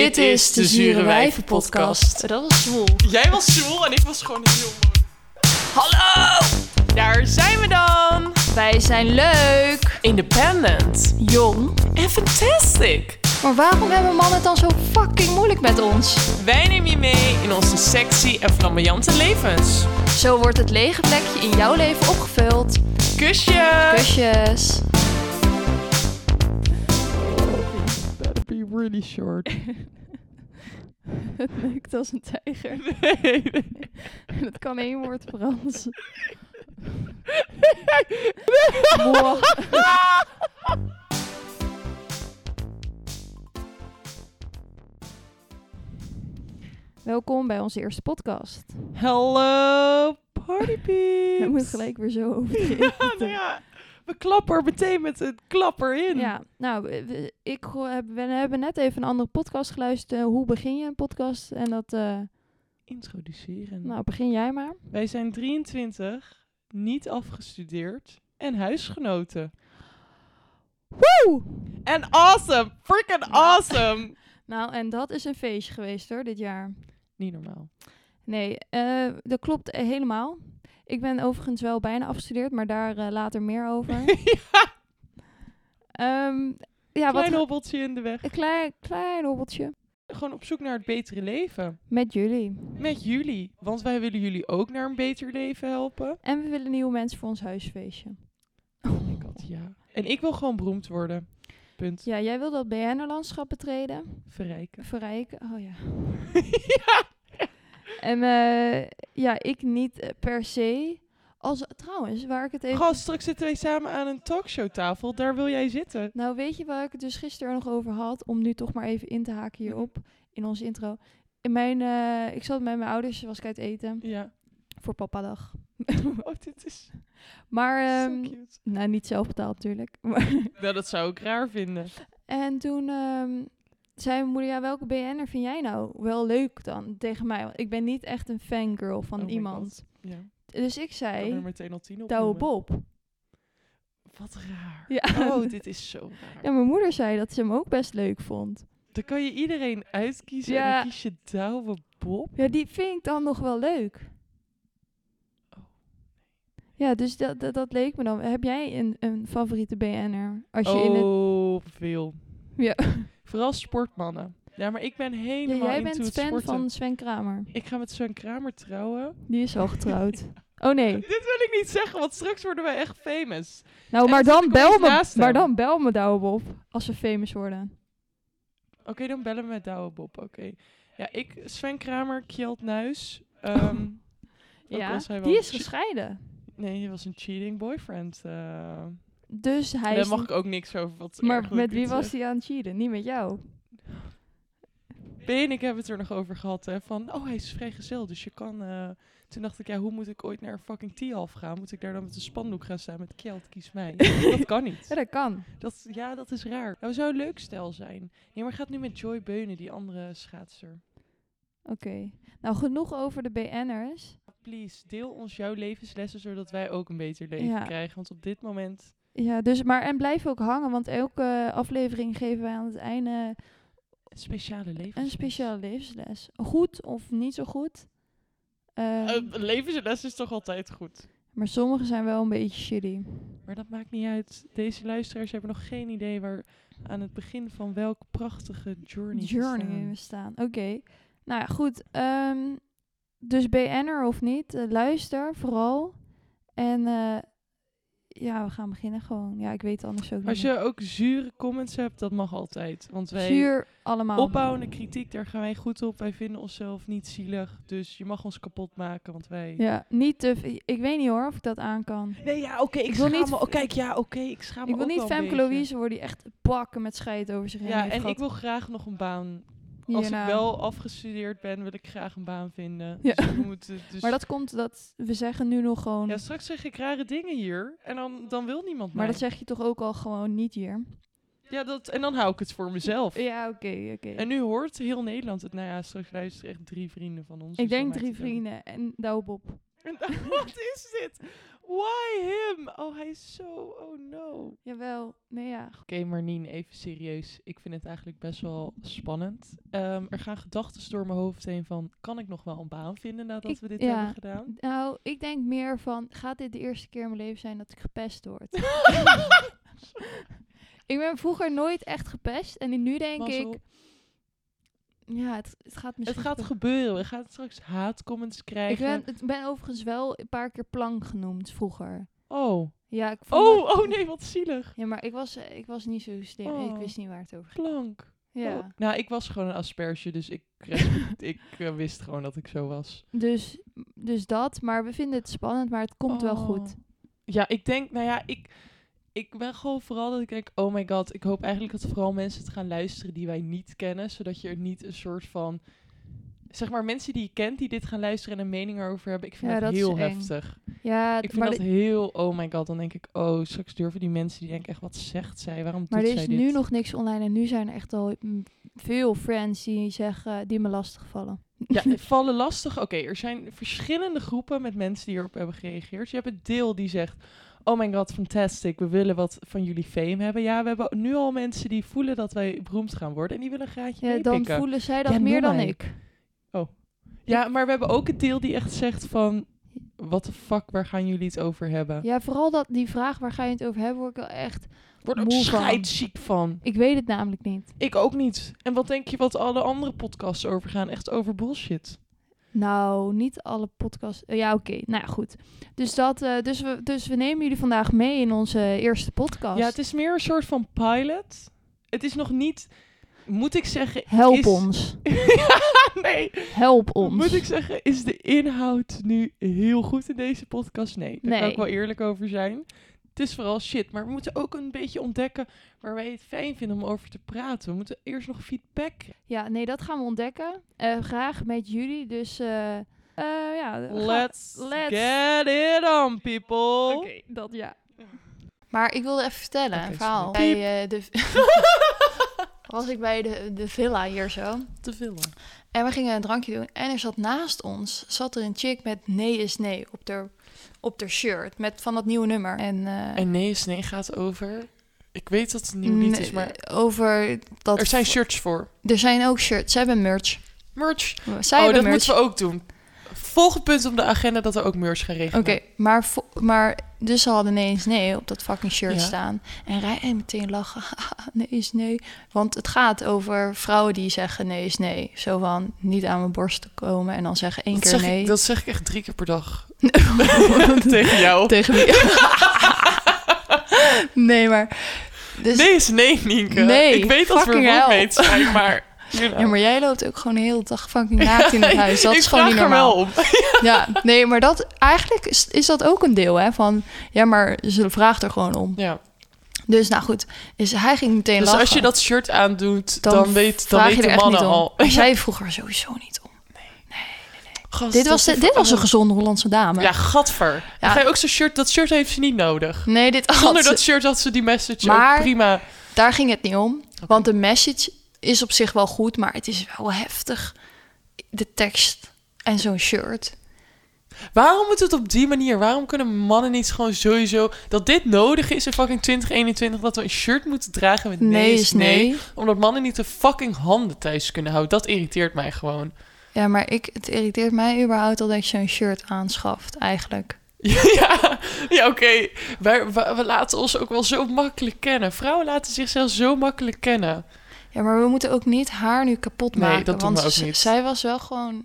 Dit is de Zure Wijven podcast. Dat was zwoel. Jij was zwoel en ik was gewoon heel mooi. Hallo! Daar zijn we dan! Wij zijn leuk, Independent jong. en fantastic! Maar waarom hebben mannen het dan zo fucking moeilijk met ons? Wij nemen je mee in onze sexy en flamboyante levens. Zo wordt het lege plekje in jouw leven opgevuld. Kusje! Kusjes. Better be really short. Het lukt als een tijger. En het kan één woord Frans. Boah. Welkom bij onze eerste podcast. Hallo, party We peeps! moeten gelijk weer zo over de Ja, nou ja, we klappen er meteen met een klapper in. Ja, nou, we- we- ik go- heb, we hebben net even een andere podcast geluisterd. eh, hoe begin je een podcast? En dat, eh, Introduceren. nou, begin jij maar. Wij zijn 23, niet afgestudeerd en huisgenoten. Woe! En awesome! Freaking awesome! Nou, en dat is een feestje geweest hoor, dit jaar. Niet normaal. Nee, eh, dat klopt eh, helemaal. Ik ben overigens wel bijna afgestudeerd, maar daar eh, later meer over. ja, Ehm, ja, wat klein ge- hobbeltje in de weg. een klein, klein hobbeltje Gewoon op zoek naar het betere leven. met jullie. Met jullie. Want wij willen jullie ook naar een beter leven helpen. En we willen nieuwe mensen voor ons huisfeestje. Oh my god, ja. En ik wil gewoon beroemd worden. Punt. Ja, jij wil dat BN'er-landschap betreden. Verrijken. Verrijken. Oh ja. ja. En eh, ja, ik niet eh, per se. Als, trouwens, waar ik het even... Gast, straks zitten wij samen aan een talkshowtafel. Daar wil jij zitten. Nou, weet je waar ik het dus gisteren nog over had? Om nu toch maar even in te haken Mhm. hierop, in onze intro. In mijn, eh, ik zat met mijn ouders, was ik uit eten, Ja. voor papadag. Oh, dit is maar, zo ehm, cute. nou, niet zelf betaald natuurlijk. Maar- Nou, dat zou ik raar vinden. en toen ehm, zei mijn moeder, ja, welke BN'er vind jij nou wel leuk dan tegen mij? Want ik ben niet echt een fangirl van Oh my iemand. Ja. Dus ik Ik kan er zei, meteen al tien op. Douwe Bob. Wat raar. Ja. Oh, dit is zo raar. Ja, mijn moeder zei dat ze hem ook best leuk vond. Dan kan je iedereen uitkiezen en Ja. dan kies je Douwe Bob. Ja, die vind ik dan nog wel leuk. Oh. Ja, dus dat, dat, dat leek me dan. Heb jij een, een favoriete BN'er? Als je in het... Oh, veel. Ja. Vooral sportmannen. Ja, maar ik ben Ja, helemaal jij into bent het fan sporten. van Sven Kramer. Ik ga met Sven Kramer trouwen. Die is al getrouwd. Oh nee. Dit wil ik niet zeggen, want straks worden wij echt famous. Nou, En maar dan dan zit ik bel opeens me. naast Maar hem. dan bel me Douwe Bob. Als we famous worden. Oké, dan bellen we met Douwe Bob. Oké. Ja, ik, Sven Kramer, Kjeld Nuis. ehm, ook Oh. Ja, al zei die wel- is gescheiden. Nee, hij was een cheating boyfriend. eh. Dus hij Daar is... mag ik ook niks over. Wat Maar erg met leuk wie is, was hè. hij aan het cheaten? Niet met jou. Ben en ik hebben het er nog over gehad. Hè, van, oh, hij is vrijgezel, dus je kan... eh, toen dacht ik, ja, hoe moet ik ooit naar een fucking T-half gaan? Moet ik daar dan met een spandoek gaan staan met Kjeld, kies mij? dat kan Ja, niet. dat kan. Dat, ja, dat is raar. Nou, we zou een leuk stijl zijn. Nee, maar gaat nu met Joy Beunen, die andere schaatser. Oké. Nou, genoeg over de BN'ers. Please, deel ons jouw levenslessen, zodat wij ook een beter leven Ja. krijgen. Want op dit moment... Ja, dus maar en blijf ook hangen, want elke aflevering geven wij aan het einde Een speciale levensles. een speciale levensles. Goed of niet zo goed. Ehm, Eh, Een levensles is toch altijd goed? maar sommige zijn wel een beetje shitty. Maar dat maakt niet uit. Deze luisteraars hebben nog geen idee waar aan het begin van welk prachtige journey. ze Journey we staan. Oké. Nou ja, goed. ehm, dus BN'er of niet, eh, luister vooral. En eh, ja, we gaan beginnen gewoon. Ja, ik weet het anders ook staan. Als niet. je ook zure comments hebt, dat mag altijd. Want wij Zuur allemaal. opbouwende kritiek, daar gaan wij goed op. Wij vinden onszelf niet zielig. Dus je mag ons kapot maken, want wij. Ja, niet te... v- Ik weet niet hoor of ik dat aan kan. Nee, ja, oké. ik Ik wil schaam niet- me. Oh, kijk, ja, oké. ik schaam me Ik wil Ah, ook niet wel een Femke beetje. Louise worden die echt bakken met scheid over zich heen Ja, heeft en gehad. ik wil graag nog een baan. Als Hierna. ik wel afgestudeerd ben, wil ik graag een baan vinden. nou. Ja. Dus we moeten, dus Maar dat komt dat we zeggen nu nog gewoon. Ja, straks zeg ik rare dingen hier en dan, dan wil niemand maar mij. dat zeg je toch ook al gewoon niet hier? Ja, dat, en dan hou ik het voor mezelf. Ja, oké, oké. En nu hoort heel Nederland het. Nou ja, straks luisteren echt drie vrienden van ons. Ik dus dan denk maakt drie het ook niet- vrienden en Douwe Bob. En dan- Wat is dit? Why him? Oh, hij is zo... Oh no. Jawel. Nee, ja. Oké, Marnien, even serieus. Ik vind het eigenlijk best wel spannend. Ehm, er gaan gedachten door mijn hoofd heen van... Kan ik nog wel een baan vinden nadat Ik- we dit ja. hebben gedaan? Nou, ik denk meer van, gaat dit de eerste keer in mijn leven zijn dat ik gepest word? ik ben vroeger nooit echt gepest en nu denk Mazzel. ik, ja, het, het gaat Het misschien... gaat gebeuren. gebeuren. We gaan straks haatcomments ik krijgen. ben, ik ben overigens wel een paar keer plank genoemd vroeger. Oh. Ja, ik vond Oh, dat- oh nee, wat zielig. Ja, maar ik was, eh, ik was niet zo hysterisch. Oh. Ik wist niet waar het over ging. Plank. Ja. Oh, Nou, ik was gewoon een asperge, dus ik, respect- ik eh, wist gewoon dat ik zo was. Dus, dus dat, maar we vinden het spannend, maar het komt wel Oh. goed. Ja, ik denk, nou ja, ik, ik ben gewoon vooral dat ik denk, oh my god, ik hoop eigenlijk dat vooral mensen het gaan luisteren die wij niet kennen, zodat je er niet een soort van, zeg maar, mensen die je kent die dit gaan luisteren en een mening erover hebben. Ik vind Ja, dat, dat is heel eng. heftig. Ja, Ik vind maar dat de- heel, oh my god, dan denk ik, oh, straks durven die mensen die denken echt, wat zegt zij? Waarom Maar doet er is zij nu dit? nog niks online en nu zijn er echt al mm, veel friends die zeggen eh, die me lastigvallen. Ja, vallen lastig. Oké, er zijn verschillende groepen met mensen die erop hebben gereageerd. Je hebt het deel die zegt: Oh my god, fantastic. We willen wat van jullie fame hebben. Ja, we hebben nu al mensen die voelen dat wij beroemd gaan worden. En die willen een graadje Ja, dan meepikken. voelen zij dat Ja, meer doe dan maar. ik. Ja, maar we hebben ook het deel die echt zegt: van... Wat de fuck, waar gaan jullie het over hebben? Ja, vooral dat, die vraag waar ga je het over hebben, word ik wel echt... Word er ook moe van. scheidziek van. Ik weet het namelijk niet. Ik ook niet. En wat denk je wat alle andere podcasts over gaan? Echt over bullshit. Nou, niet alle podcasts... eh, Ja, oké. Nou ja, goed. Dus, dat, eh, dus, we, dus we nemen jullie vandaag mee in onze eerste podcast. Ja, het is meer een soort van pilot. Het is nog niet, moet ik zeggen. Help is- ons. nee, Help ons. moet ik zeggen, is de inhoud nu heel goed in deze podcast? Nee, daar kan Nee. ik wel eerlijk over zijn. Het is vooral shit, maar we moeten ook een beetje ontdekken waar wij het fijn vinden om over te praten. We moeten eerst nog feedback. Ja, nee, dat gaan we ontdekken. Eh, graag met jullie. Dus eh, eh, ja, ga- Let's, let's- get it on, people. dat ja. Maar ik wilde even vertellen Oké, een verhaal. sorry. Bij, eh, de, was ik bij de, de villa hier zo. Te veel. En we gingen een drankje doen. En er zat naast ons zat er een chick met nee is nee op haar op haar shirt. Met van dat nieuwe nummer. En, eh, En nee is nee gaat over. Ik weet dat het een nee, Over dat. shirts voor. er zijn ook shirts. Ze hebben merch. Merch. Zij hebben merch. Oh, we ook doen. Volgend punt op de agenda dat we ook merch gaan Oké, regelen. maar, vo- maar dus ze hadden nee is nee op dat fucking shirt Ja. staan. En Rijn en meteen lachen. nee is nee. Want het gaat over vrouwen die zeggen nee is nee. Zo van niet aan mijn borst te komen en dan zeggen één Dat keer zeg nee. Ik, dat zeg ik echt drie keer per dag. Tegen jou. Tegen wie? nee, maar. Dus, Nee is nee, Nienke. Nee, ik weet dat we fucking roommates zijn, maar... you know. Ja, maar jij loopt ook gewoon de hele dag fucking naakt in het huis. Dat ik is gewoon vraag niet er normaal. wel om. Ja, nee, maar dat eigenlijk is, is dat ook een deel hè van ja, maar ze vraagt er gewoon om. Ja. Dus nou goed, is hij ging meteen Dus lachen. als je dat shirt aandoet, dan, weet, dan vraag je weet er de echt mannen niet om. al... Maar Zij vroeg er sowieso niet om. Gast, dit, was, dat de- is dit was een verandering. gezonde Hollandse dame. Ja, gadver. Dan Ja. Ga je ook zo'n shirt... Dat shirt heeft ze niet nodig. Nee, dit had Zonder ze- dat shirt had ze die message Maar- ook prima. daar ging het niet om. Want de message is op zich wel goed, maar het is wel heftig. De tekst en zo'n shirt. Waarom moet het op die manier? Waarom kunnen mannen niet gewoon sowieso... Dat dit nodig is in fucking 2021... Dat we een shirt moeten dragen met nee, is nee. Omdat mannen niet de fucking handen thuis kunnen houden. Dat irriteert mij gewoon. Ja, maar ik, het irriteert mij überhaupt al dat je zo'n shirt aanschaft, eigenlijk. ja, ja oké. Wij- wa- We laten ons ook wel zo makkelijk kennen. Vrouwen laten zichzelf zo makkelijk kennen. Ja, maar we moeten ook niet haar nu kapot Nee, maken. dat doen want we ook z- niet. zij was wel gewoon...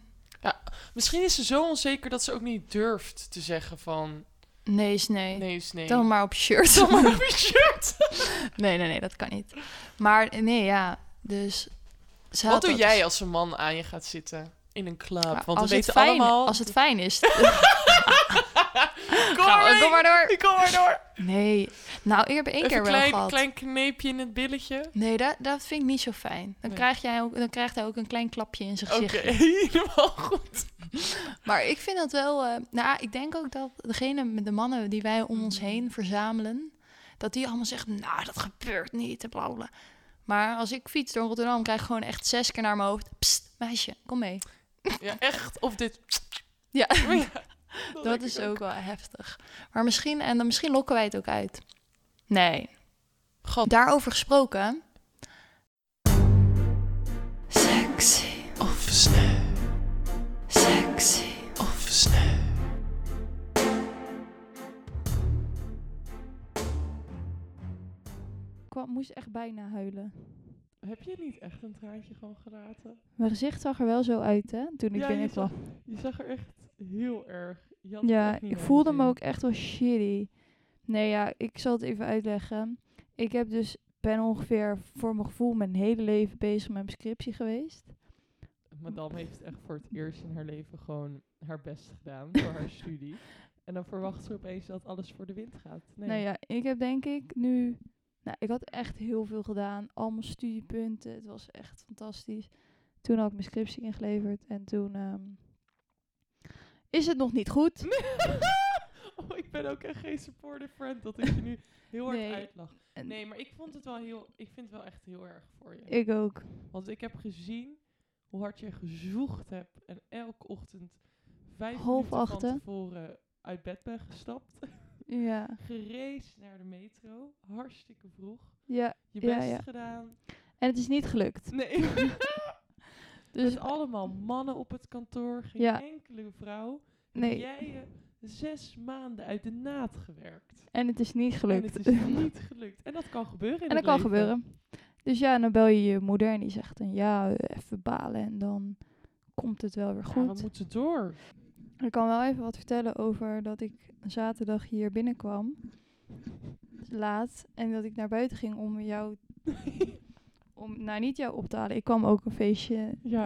Misschien is ze zo onzeker dat ze ook niet durft te zeggen van... Nee is nee. Nee is nee. Dan maar op je shirt. Dan maar op je shirt. Nee, nee, nee, dat kan niet. Maar nee, ja, dus... zij Wat had doe dat- dus- jij als een man aan je gaat zitten? In een club. Maar Want we als het weten fijn, allemaal... Als het fijn is. Kom, Ga- maar, kom maar door. Kom maar door. Nee. Nou, ik heb één Even keer een wel klein, gehad. klein kneepje in het billetje. Nee, dat, dat vind ik niet zo fijn. Dan, Nee. krijg jij ook, dan krijgt hij ook een klein klapje in zijn Oké, gezicht. helemaal goed. Maar ik vind dat wel... eh, nou, ik denk ook dat degene met de mannen die wij om Mhm. ons heen verzamelen... dat die allemaal zeggen, nou, dat gebeurt niet, en bla, bla, bla. Maar als ik fiets door Rotterdam, krijg ik gewoon echt zes Oh, keer naar mijn hoofd... Psst, meisje, kom mee. Ja, echt. Of dit... Ja. Dat is ook wel heftig. Maar misschien, en dan misschien lokken wij het ook uit. Nee. God. Daarover gesproken. Sexy, Of snel, sexy. of snel. Ik kwam- moest echt bijna huilen. Heb je niet echt een traantje gewoon gelaten? Mijn gezicht zag er wel zo uit, hè, toen ik Ja, je binnenkwam. zag- Je zag er echt heel erg. Je had het Ja, echt niet ik naar je voelde me zin. ook echt wel shitty. Nee, ja, ik zal het even uitleggen. Ik heb dus, ben ongeveer voor mijn gevoel mijn hele leven bezig met mijn scriptie geweest. Madame heeft echt voor het eerst in haar leven gewoon haar best gedaan voor haar studie. En dan verwacht ze opeens dat alles voor de wind gaat. Nee, Nou ja, ik heb denk ik nu... Nou, ik had echt heel veel gedaan. Al mijn studiepunten. Het was echt fantastisch. Toen had ik mijn scriptie ingeleverd. En toen ehm, is het nog niet goed. oh, ik ben ook echt geen supportive friend dat ik je nu heel Nee. hard uitlach. En- Nee, maar ik vond het wel heel, ik vind het wel echt heel erg voor je. Ik ook. Want ik heb gezien hoe hard je gezocht hebt en elke ochtend vijf Half minuten achten. van tevoren uit bed ben gestapt. Ja. Gereisd naar de metro, hartstikke vroeg. ja. Je Ja, best ja. gedaan. En het is niet gelukt. Nee. Dus Met allemaal mannen op het kantoor, geen Ja. enkele vrouw. Heb nee. jij je zes maanden uit de naad gewerkt. En het is niet gelukt. En het is niet gelukt. En dat kan gebeuren in En dat het kan leven. gebeuren. Dus ja, dan bel je je moeder en die zegt dan ja, eh, even balen en dan komt het wel weer Ja, goed. we moeten door. Ik kan wel even wat vertellen over dat ik zaterdag hier binnenkwam, laat, en dat ik naar buiten ging om jou, om, nou niet jou op te halen, ik kwam ook een feestje Ja.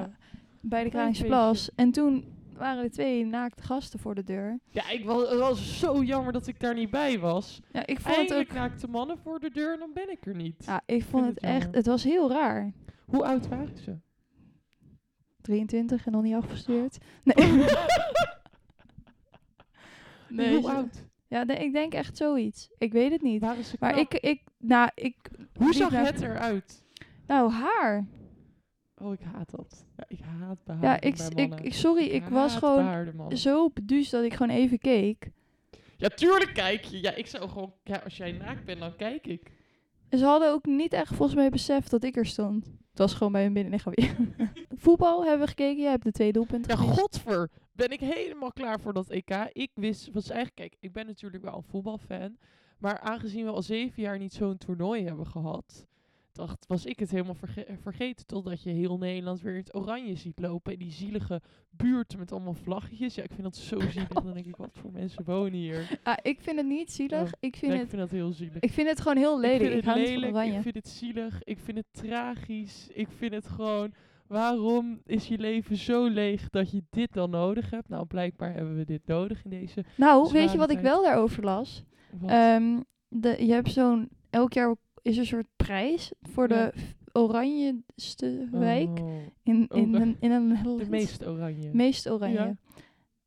bij Klein de Kralingsplas. En toen waren er twee naakte gasten voor de deur. Ja, ik was, het was zo jammer dat ik daar niet bij was. Ja, ik vond het Eindelijk ook, naakte mannen voor de deur en dan ben ik er niet. ja, ik vond het het echt, jammer. het was heel raar. Hoe oud waren ze? 23 en nog niet afgestuurd. Nee. nee Hoe ze- oud? Ja, nee, ik denk echt zoiets. Ik weet het niet. Waren ze Maar knap? ik, ik, nou, ik, Hoe liep zag naar- het eruit? nou, haar. Oh, ik haat dat. Ja, ik haat behaar Ja, ik, bij ik, mannen. ik, sorry, ik was haat gewoon behaarde mannen. zo beduusd dat ik gewoon even keek. Ja, tuurlijk kijk je. Ja, ik zou gewoon... Ja, als jij naakt bent, dan kijk ik. En ze hadden ook niet echt volgens mij beseft dat ik er stond. Het was gewoon bij hun binnenlichaam weer. Voetbal hebben we gekeken. Jij hebt de twee doelpunten Ja, gemist. godver. Ben ik helemaal klaar voor dat EK. Ik wist... Was eigenlijk... Kijk, ik ben natuurlijk wel een voetbalfan. Maar aangezien we al zeven jaar niet zo'n toernooi hebben gehad... Dacht, was ik het helemaal verge- vergeten. Totdat je heel Nederland weer in het oranje ziet lopen. En die zielige buurt met allemaal vlaggetjes. Ja, ik vind dat zo zielig. Dan denk ik, wat voor mensen wonen hier? Ah, ik vind het niet zielig. Ja, Ik Ja, vind, ik het, vind dat heel zielig. ik vind het gewoon heel lelijk. Ik, vind het hou niet van lelijk, oranje. Ik vind het zielig. Ik vind het tragisch. Ik vind het gewoon. Waarom is je leven zo leeg dat je dit dan nodig hebt? Nou, blijkbaar hebben we dit nodig in deze. Nou, weet je Zware wat ik tijd. wel daarover las? Wat? Ehm, de, je hebt zo'n... Elk jaar is er een soort prijs voor Ja. de f- oranjeste wijk. Oh, in, in, ora- een, in een de meest oranje. meest oranje. Ja.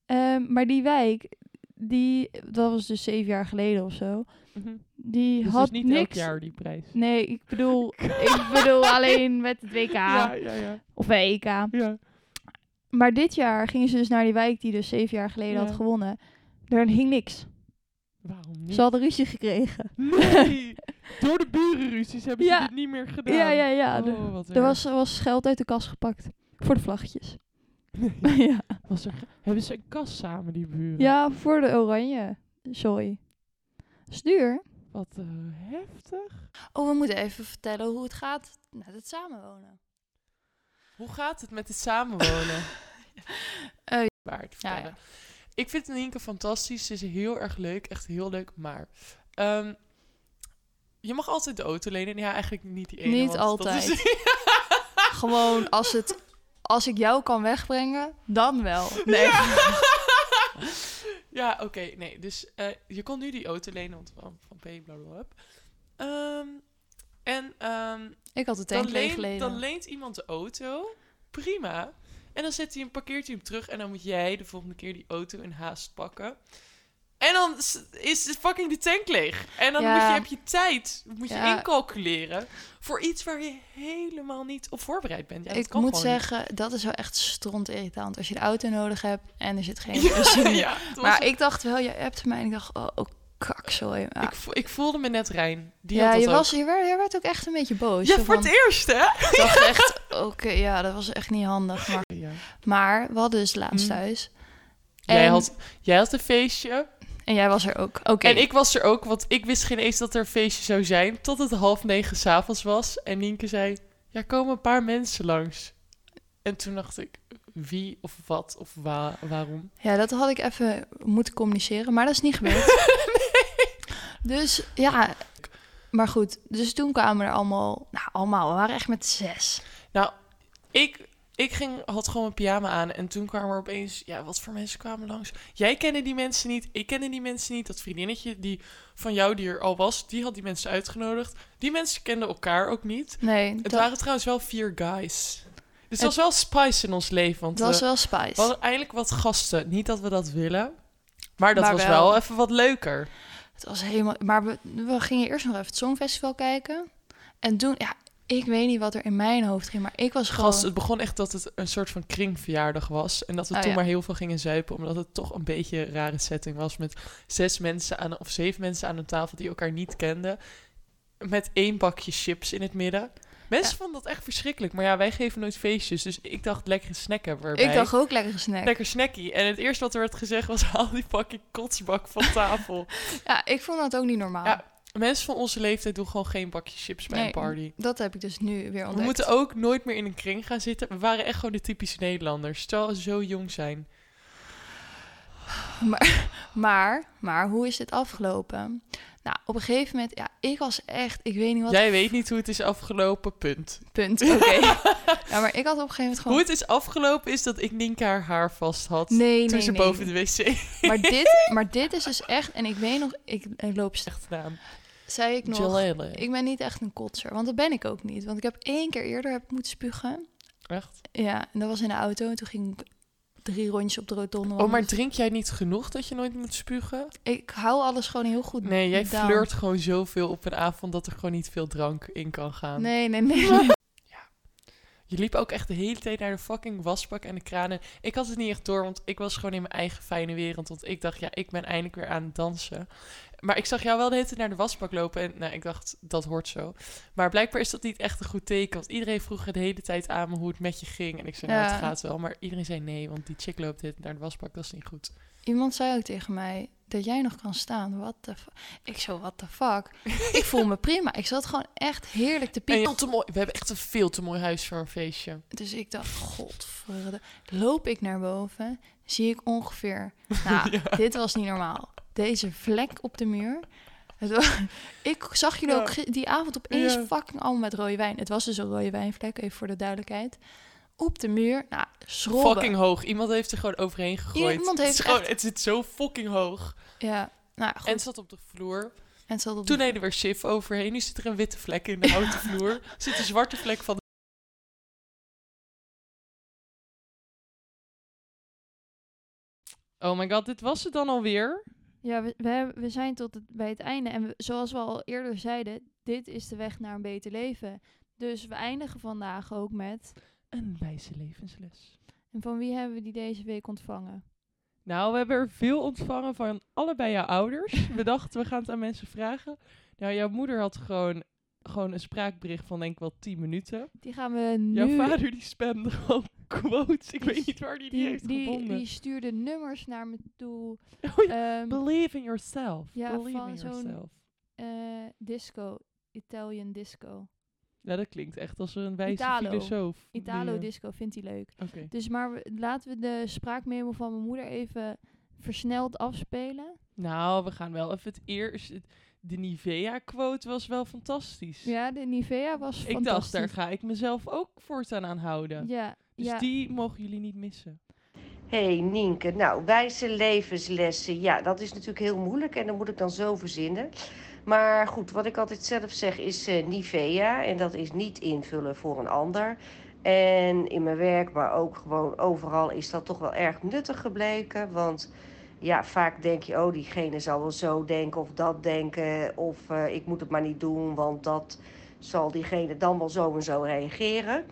Ehm, maar die wijk, die, dat was dus zeven jaar geleden of zo. Mhm. Die Dus het had is niet niks... elk jaar die prijs. Nee, ik bedoel, ik bedoel alleen met het WK Ja, ja, ja. of bij EK. ja. Maar dit jaar gingen ze dus naar die wijk die dus zeven jaar geleden Ja. had gewonnen. Daar hing niks. Waarom niet? Ze hadden ruzie gekregen. Nee! Door de burenruzies hebben Ja. ze dit niet meer gedaan. Ja, ja, ja. Oh, er wat er erg. was, er was geld uit de kas gepakt. Voor de vlaggetjes. Nee. ja. Mm. Was er... Hebben ze een kast samen, die buren? ja, voor de oranje. Sorry. Dat is duur. Wat eh, heftig. Oh, we moeten even vertellen hoe het gaat met het samenwonen. Hoe gaat het met het samenwonen? Eh, Waar het ja, vertellen. Ik vind Nienke fantastisch. Ze is heel erg leuk. Echt heel leuk. Maar ehm, je mag altijd de auto lenen. Ja, eigenlijk niet die ene. Niet want dat is- Gewoon als het. Als ik jou kan wegbrengen, dan wel. Nee. Ja, Ja, oké. nee, dus eh, je kon nu die auto lenen. Want van, van P, blablabla. Ehm en ehm, Ik had het tank dan, leen, leegleden. dan leent iemand de auto. Prima. En dan zet hij hem, parkeert hij hem terug. En dan moet jij de volgende keer die auto in haast pakken. Ehm, En dan s- is de fucking de tank leeg. En dan Ja. moet je, heb je tijd, moet je Ja. incalculeren voor iets waar je helemaal niet op voorbereid bent. Ja, dat ik kan moet gewoon niet. zeggen, dat is wel echt stront irritant. Als je de auto nodig hebt en er zit geen benzine. in. ja, het was Maar ik dacht wel, je appt mij en ik dacht, oh, oh kak, sorry. Ja, Ik, vo- ik voelde me net Rijn. Die ja had dat je, ook. was, je, werd, je werd ook echt een beetje boos. ja, Zo voor van, het eerst, hè? ik dacht echt, oké, ja, dat was echt niet handig. Maar, Ja. maar we hadden dus laatst Mm. thuis. Jij, En- had, jij had een feestje. En jij was er ook. Oké. En ik was er ook, want ik wist geen eens dat er een feestje zou zijn. Tot het half negen s'avonds was. En Nienke zei, ja, komen een paar mensen langs. En toen dacht ik, wie of wat of wa- waarom? Ja, dat had ik even moeten communiceren, maar dat is niet gebeurd. Dus ja, maar goed. Dus toen kwamen er allemaal, nou allemaal, we waren echt met zes. Ik, ik ging, had gewoon mijn pyjama aan en toen kwamen er opeens... Ja, wat voor mensen kwamen langs? Jij kende die mensen niet, ik kende die mensen niet. Dat vriendinnetje die van jou die er al was, die had die mensen uitgenodigd. Die mensen kenden elkaar ook niet. Nee, Het dat, waren trouwens wel vier guys. Dus dat was wel spice in ons leven. Want dat was we, wel we spice. hadden eindelijk wat gasten. Niet dat we dat willen, maar dat Maar was wel. wel. even wat leuker. Het was helemaal, maar we, we gingen eerst nog even het Songfestival kijken. En toen, ja, ik weet niet wat er in mijn hoofd ging, maar ik was gewoon... Gast, het begon echt dat het een soort van kringverjaardag was. En dat we Oh, toen ja. maar heel veel gingen zuipen. Omdat het toch een beetje een rare setting was. Met zes mensen aan, of zeven mensen aan een tafel die elkaar niet kenden. Met één bakje chips in het midden. Mensen vonden dat echt verschrikkelijk. Maar ja, wij geven nooit feestjes. Dus ik dacht lekkere snack hebben we erbij. ik dacht ook lekker snack. Lekker snackie. En het eerste wat er werd gezegd was... haal die fucking kotsbak van tafel. Ja, ik vond dat ook niet normaal. Ja, Mensen van onze leeftijd doen gewoon geen bakje chips bij Nee, een party. Dat heb ik dus nu weer ontdekt. We moeten ook nooit meer in een kring gaan zitten. We waren echt gewoon de typische Nederlanders. Terwijl ze zo jong zijn. Maar, maar hoe is dit afgelopen? Nou, op een gegeven moment, ja, ik was echt, ik weet niet wat Jij weet niet hoe het is afgelopen, punt. punt. Oké. ja, maar ik had op een gegeven moment gewoon. Hoe het is afgelopen is dat ik Ninka haar haar vast had. nee, toen nee, ze nee. boven de wc Maar dit, maar dit is dus echt, en ik weet nog, ik, ik loop slecht. echt naam. Zei ik nog, Jalele. ik ben niet echt een kotser, want dat ben ik ook niet. Want ik heb één keer eerder heb ik moeten spugen. Echt? Ja, en dat was in de auto. En toen ging ik drie rondjes op de rotonde. Oh, maar wandelen. drink jij niet genoeg dat je nooit moet spugen? ik hou alles gewoon heel goed. Nee, jij down. flirt gewoon zoveel op een avond dat er gewoon niet veel drank in kan gaan. Nee, nee, nee. nee. Je liep ook echt de hele tijd naar de fucking wasbak en de kranen. Ik had het niet echt door, want ik was gewoon in mijn eigen fijne wereld. Want ik dacht, ja, ik ben eindelijk weer aan het dansen. Maar ik zag jou wel de hele tijd naar de wasbak lopen. En nou, ik dacht, dat hoort zo. Maar blijkbaar is dat niet echt een goed teken. Want iedereen vroeg de hele tijd aan me hoe het met je ging. En ik zei, nou, Ja. het gaat wel. Maar iedereen zei nee, want die chick loopt de hele tijd naar de wasbak. Dat is niet goed. Iemand zei ook tegen mij dat jij nog kan staan. Wat de fu- Ik zo, what the fuck? ik voel me prima. Ik zat gewoon echt heerlijk te En piepen. veel te mooi. We hebben echt een veel te mooi huis voor een feestje. Dus ik dacht, godverde. Loop ik naar boven, zie ik ongeveer... Nou, dit was niet normaal. Deze vlek op de muur. Het wa- ik zag jullie Ja. ook ge- die avond opeens Ja. fucking allemaal met rode wijn. Het was dus een rode wijnvlek, even voor de duidelijkheid. Op de muur, nou, schrobben. Fucking hoog. Iemand heeft er gewoon overheen gegooid. Iemand het, heeft is gewoon- echt- het zit zo fucking hoog. Ja, nou goed. En En, het zat op de vloer. het zat op Toen deden we er sif overheen. Nu zit er een witte vlek in de houten vloer. Er Zit een zwarte vlek van de... Oh my god, dit was het dan alweer. Ja, we, we, hebben- we zijn tot het, bij het einde. En we- zoals we al eerder zeiden, dit is de weg naar een beter leven. Dus we eindigen vandaag ook met... Een wijze levensles. En van wie hebben we die deze week ontvangen? Nou, we hebben er veel ontvangen van allebei jouw ouders. We dachten, we gaan het aan mensen vragen. Nou, jouw moeder had gewoon, gewoon een spraakbericht van denk ik wel 10 minuten. Die gaan we nu... Jouw vader die spamde gewoon quotes. Ik weet niet waar die die, die, heeft die, gevonden. die stuurde nummers naar me toe. Oh ja, Ehm, Believe in yourself. Ja, Believe van in zo'n- yourself. eh, disco. Italian disco. Ja, dat klinkt echt als een wijze Italo. filosoof. die, Italo eh, disco vindt hij leuk. Oké. Dus maar we- laten we de spraakmemo van mijn moeder even versneld afspelen. Nou, we gaan wel even het eerst... het- De Nivea-quote was wel fantastisch. Ja, de Nivea was ik dacht, daar fantastisch. ga ik mezelf ook voortaan aan houden. Ja, Dus ja. die mogen jullie niet missen. Hé hey, Nienke, nou, wijze levenslessen. Ja, dat is natuurlijk heel moeilijk en dat moet ik dan zo verzinnen. Maar goed, wat ik altijd zelf zeg is eh, Nivea. En dat is niet invullen voor een ander. En in mijn werk, maar ook gewoon overal, is dat toch wel erg nuttig gebleken. Want ja, vaak denk je, oh, diegene zal wel zo denken of dat denken. Of eh, ik moet het maar niet doen, want dat zal diegene dan wel zo en zo reageren.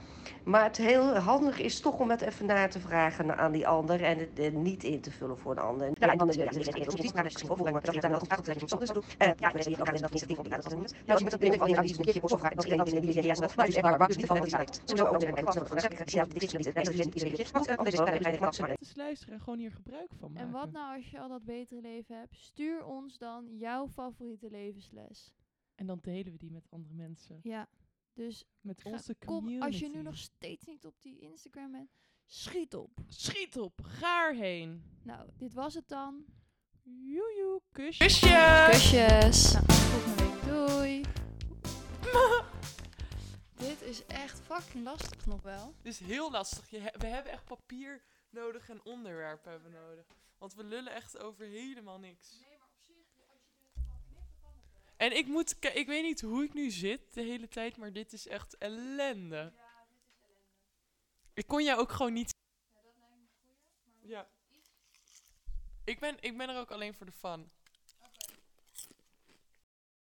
Maar het heel handig is toch om het even na te vragen aan die ander en het eh, niet in te vullen voor een ander. Ja, en dan is het weer- het is niet maar dat is gewoon voor- dat je daar wel goed uitgelegd hebt, soms doet. Eh, ja, mensen die elkaar in dat niet, die vond ik dat niet. Ja, als je met dat ding van, ja, die is een keertje op zo'n vraag, dat is geen idee, die is- die is- die is- maar die is- maar waar is die van, dat is uit. Sowieso ook weer een kwast, dat is echt- ja, dit is niet- dat is niet- dit is niet- dat is wel- dat is wel- dat is wel- Dus luisteren en gewoon hier gebruik van maken. En wat nou als je al dat betere leven hebt? Stuur ons dan jouw favoriete levensles. En dan delen we die met andere mensen. Ja. Dus Met Ga- onze community. kom, als je nu nog steeds niet op die Instagram bent, schiet op. Schiet op, gaar heen. Nou, dit was het dan. Joejoe, kusje. Kusjes! Kusjes! Nou, tot volgende week. Doei. Dit is echt fucking lastig nog wel. Dit is heel lastig. Je he- we hebben echt papier nodig en onderwerpen hebben we nodig. Want we lullen echt over helemaal niks. En ik moet, ki- ik weet niet hoe ik nu zit de hele tijd, maar dit is echt ellende. Ik kon jou ook gewoon niet. Ja. Ik ben, ik ben er ook alleen voor de fun.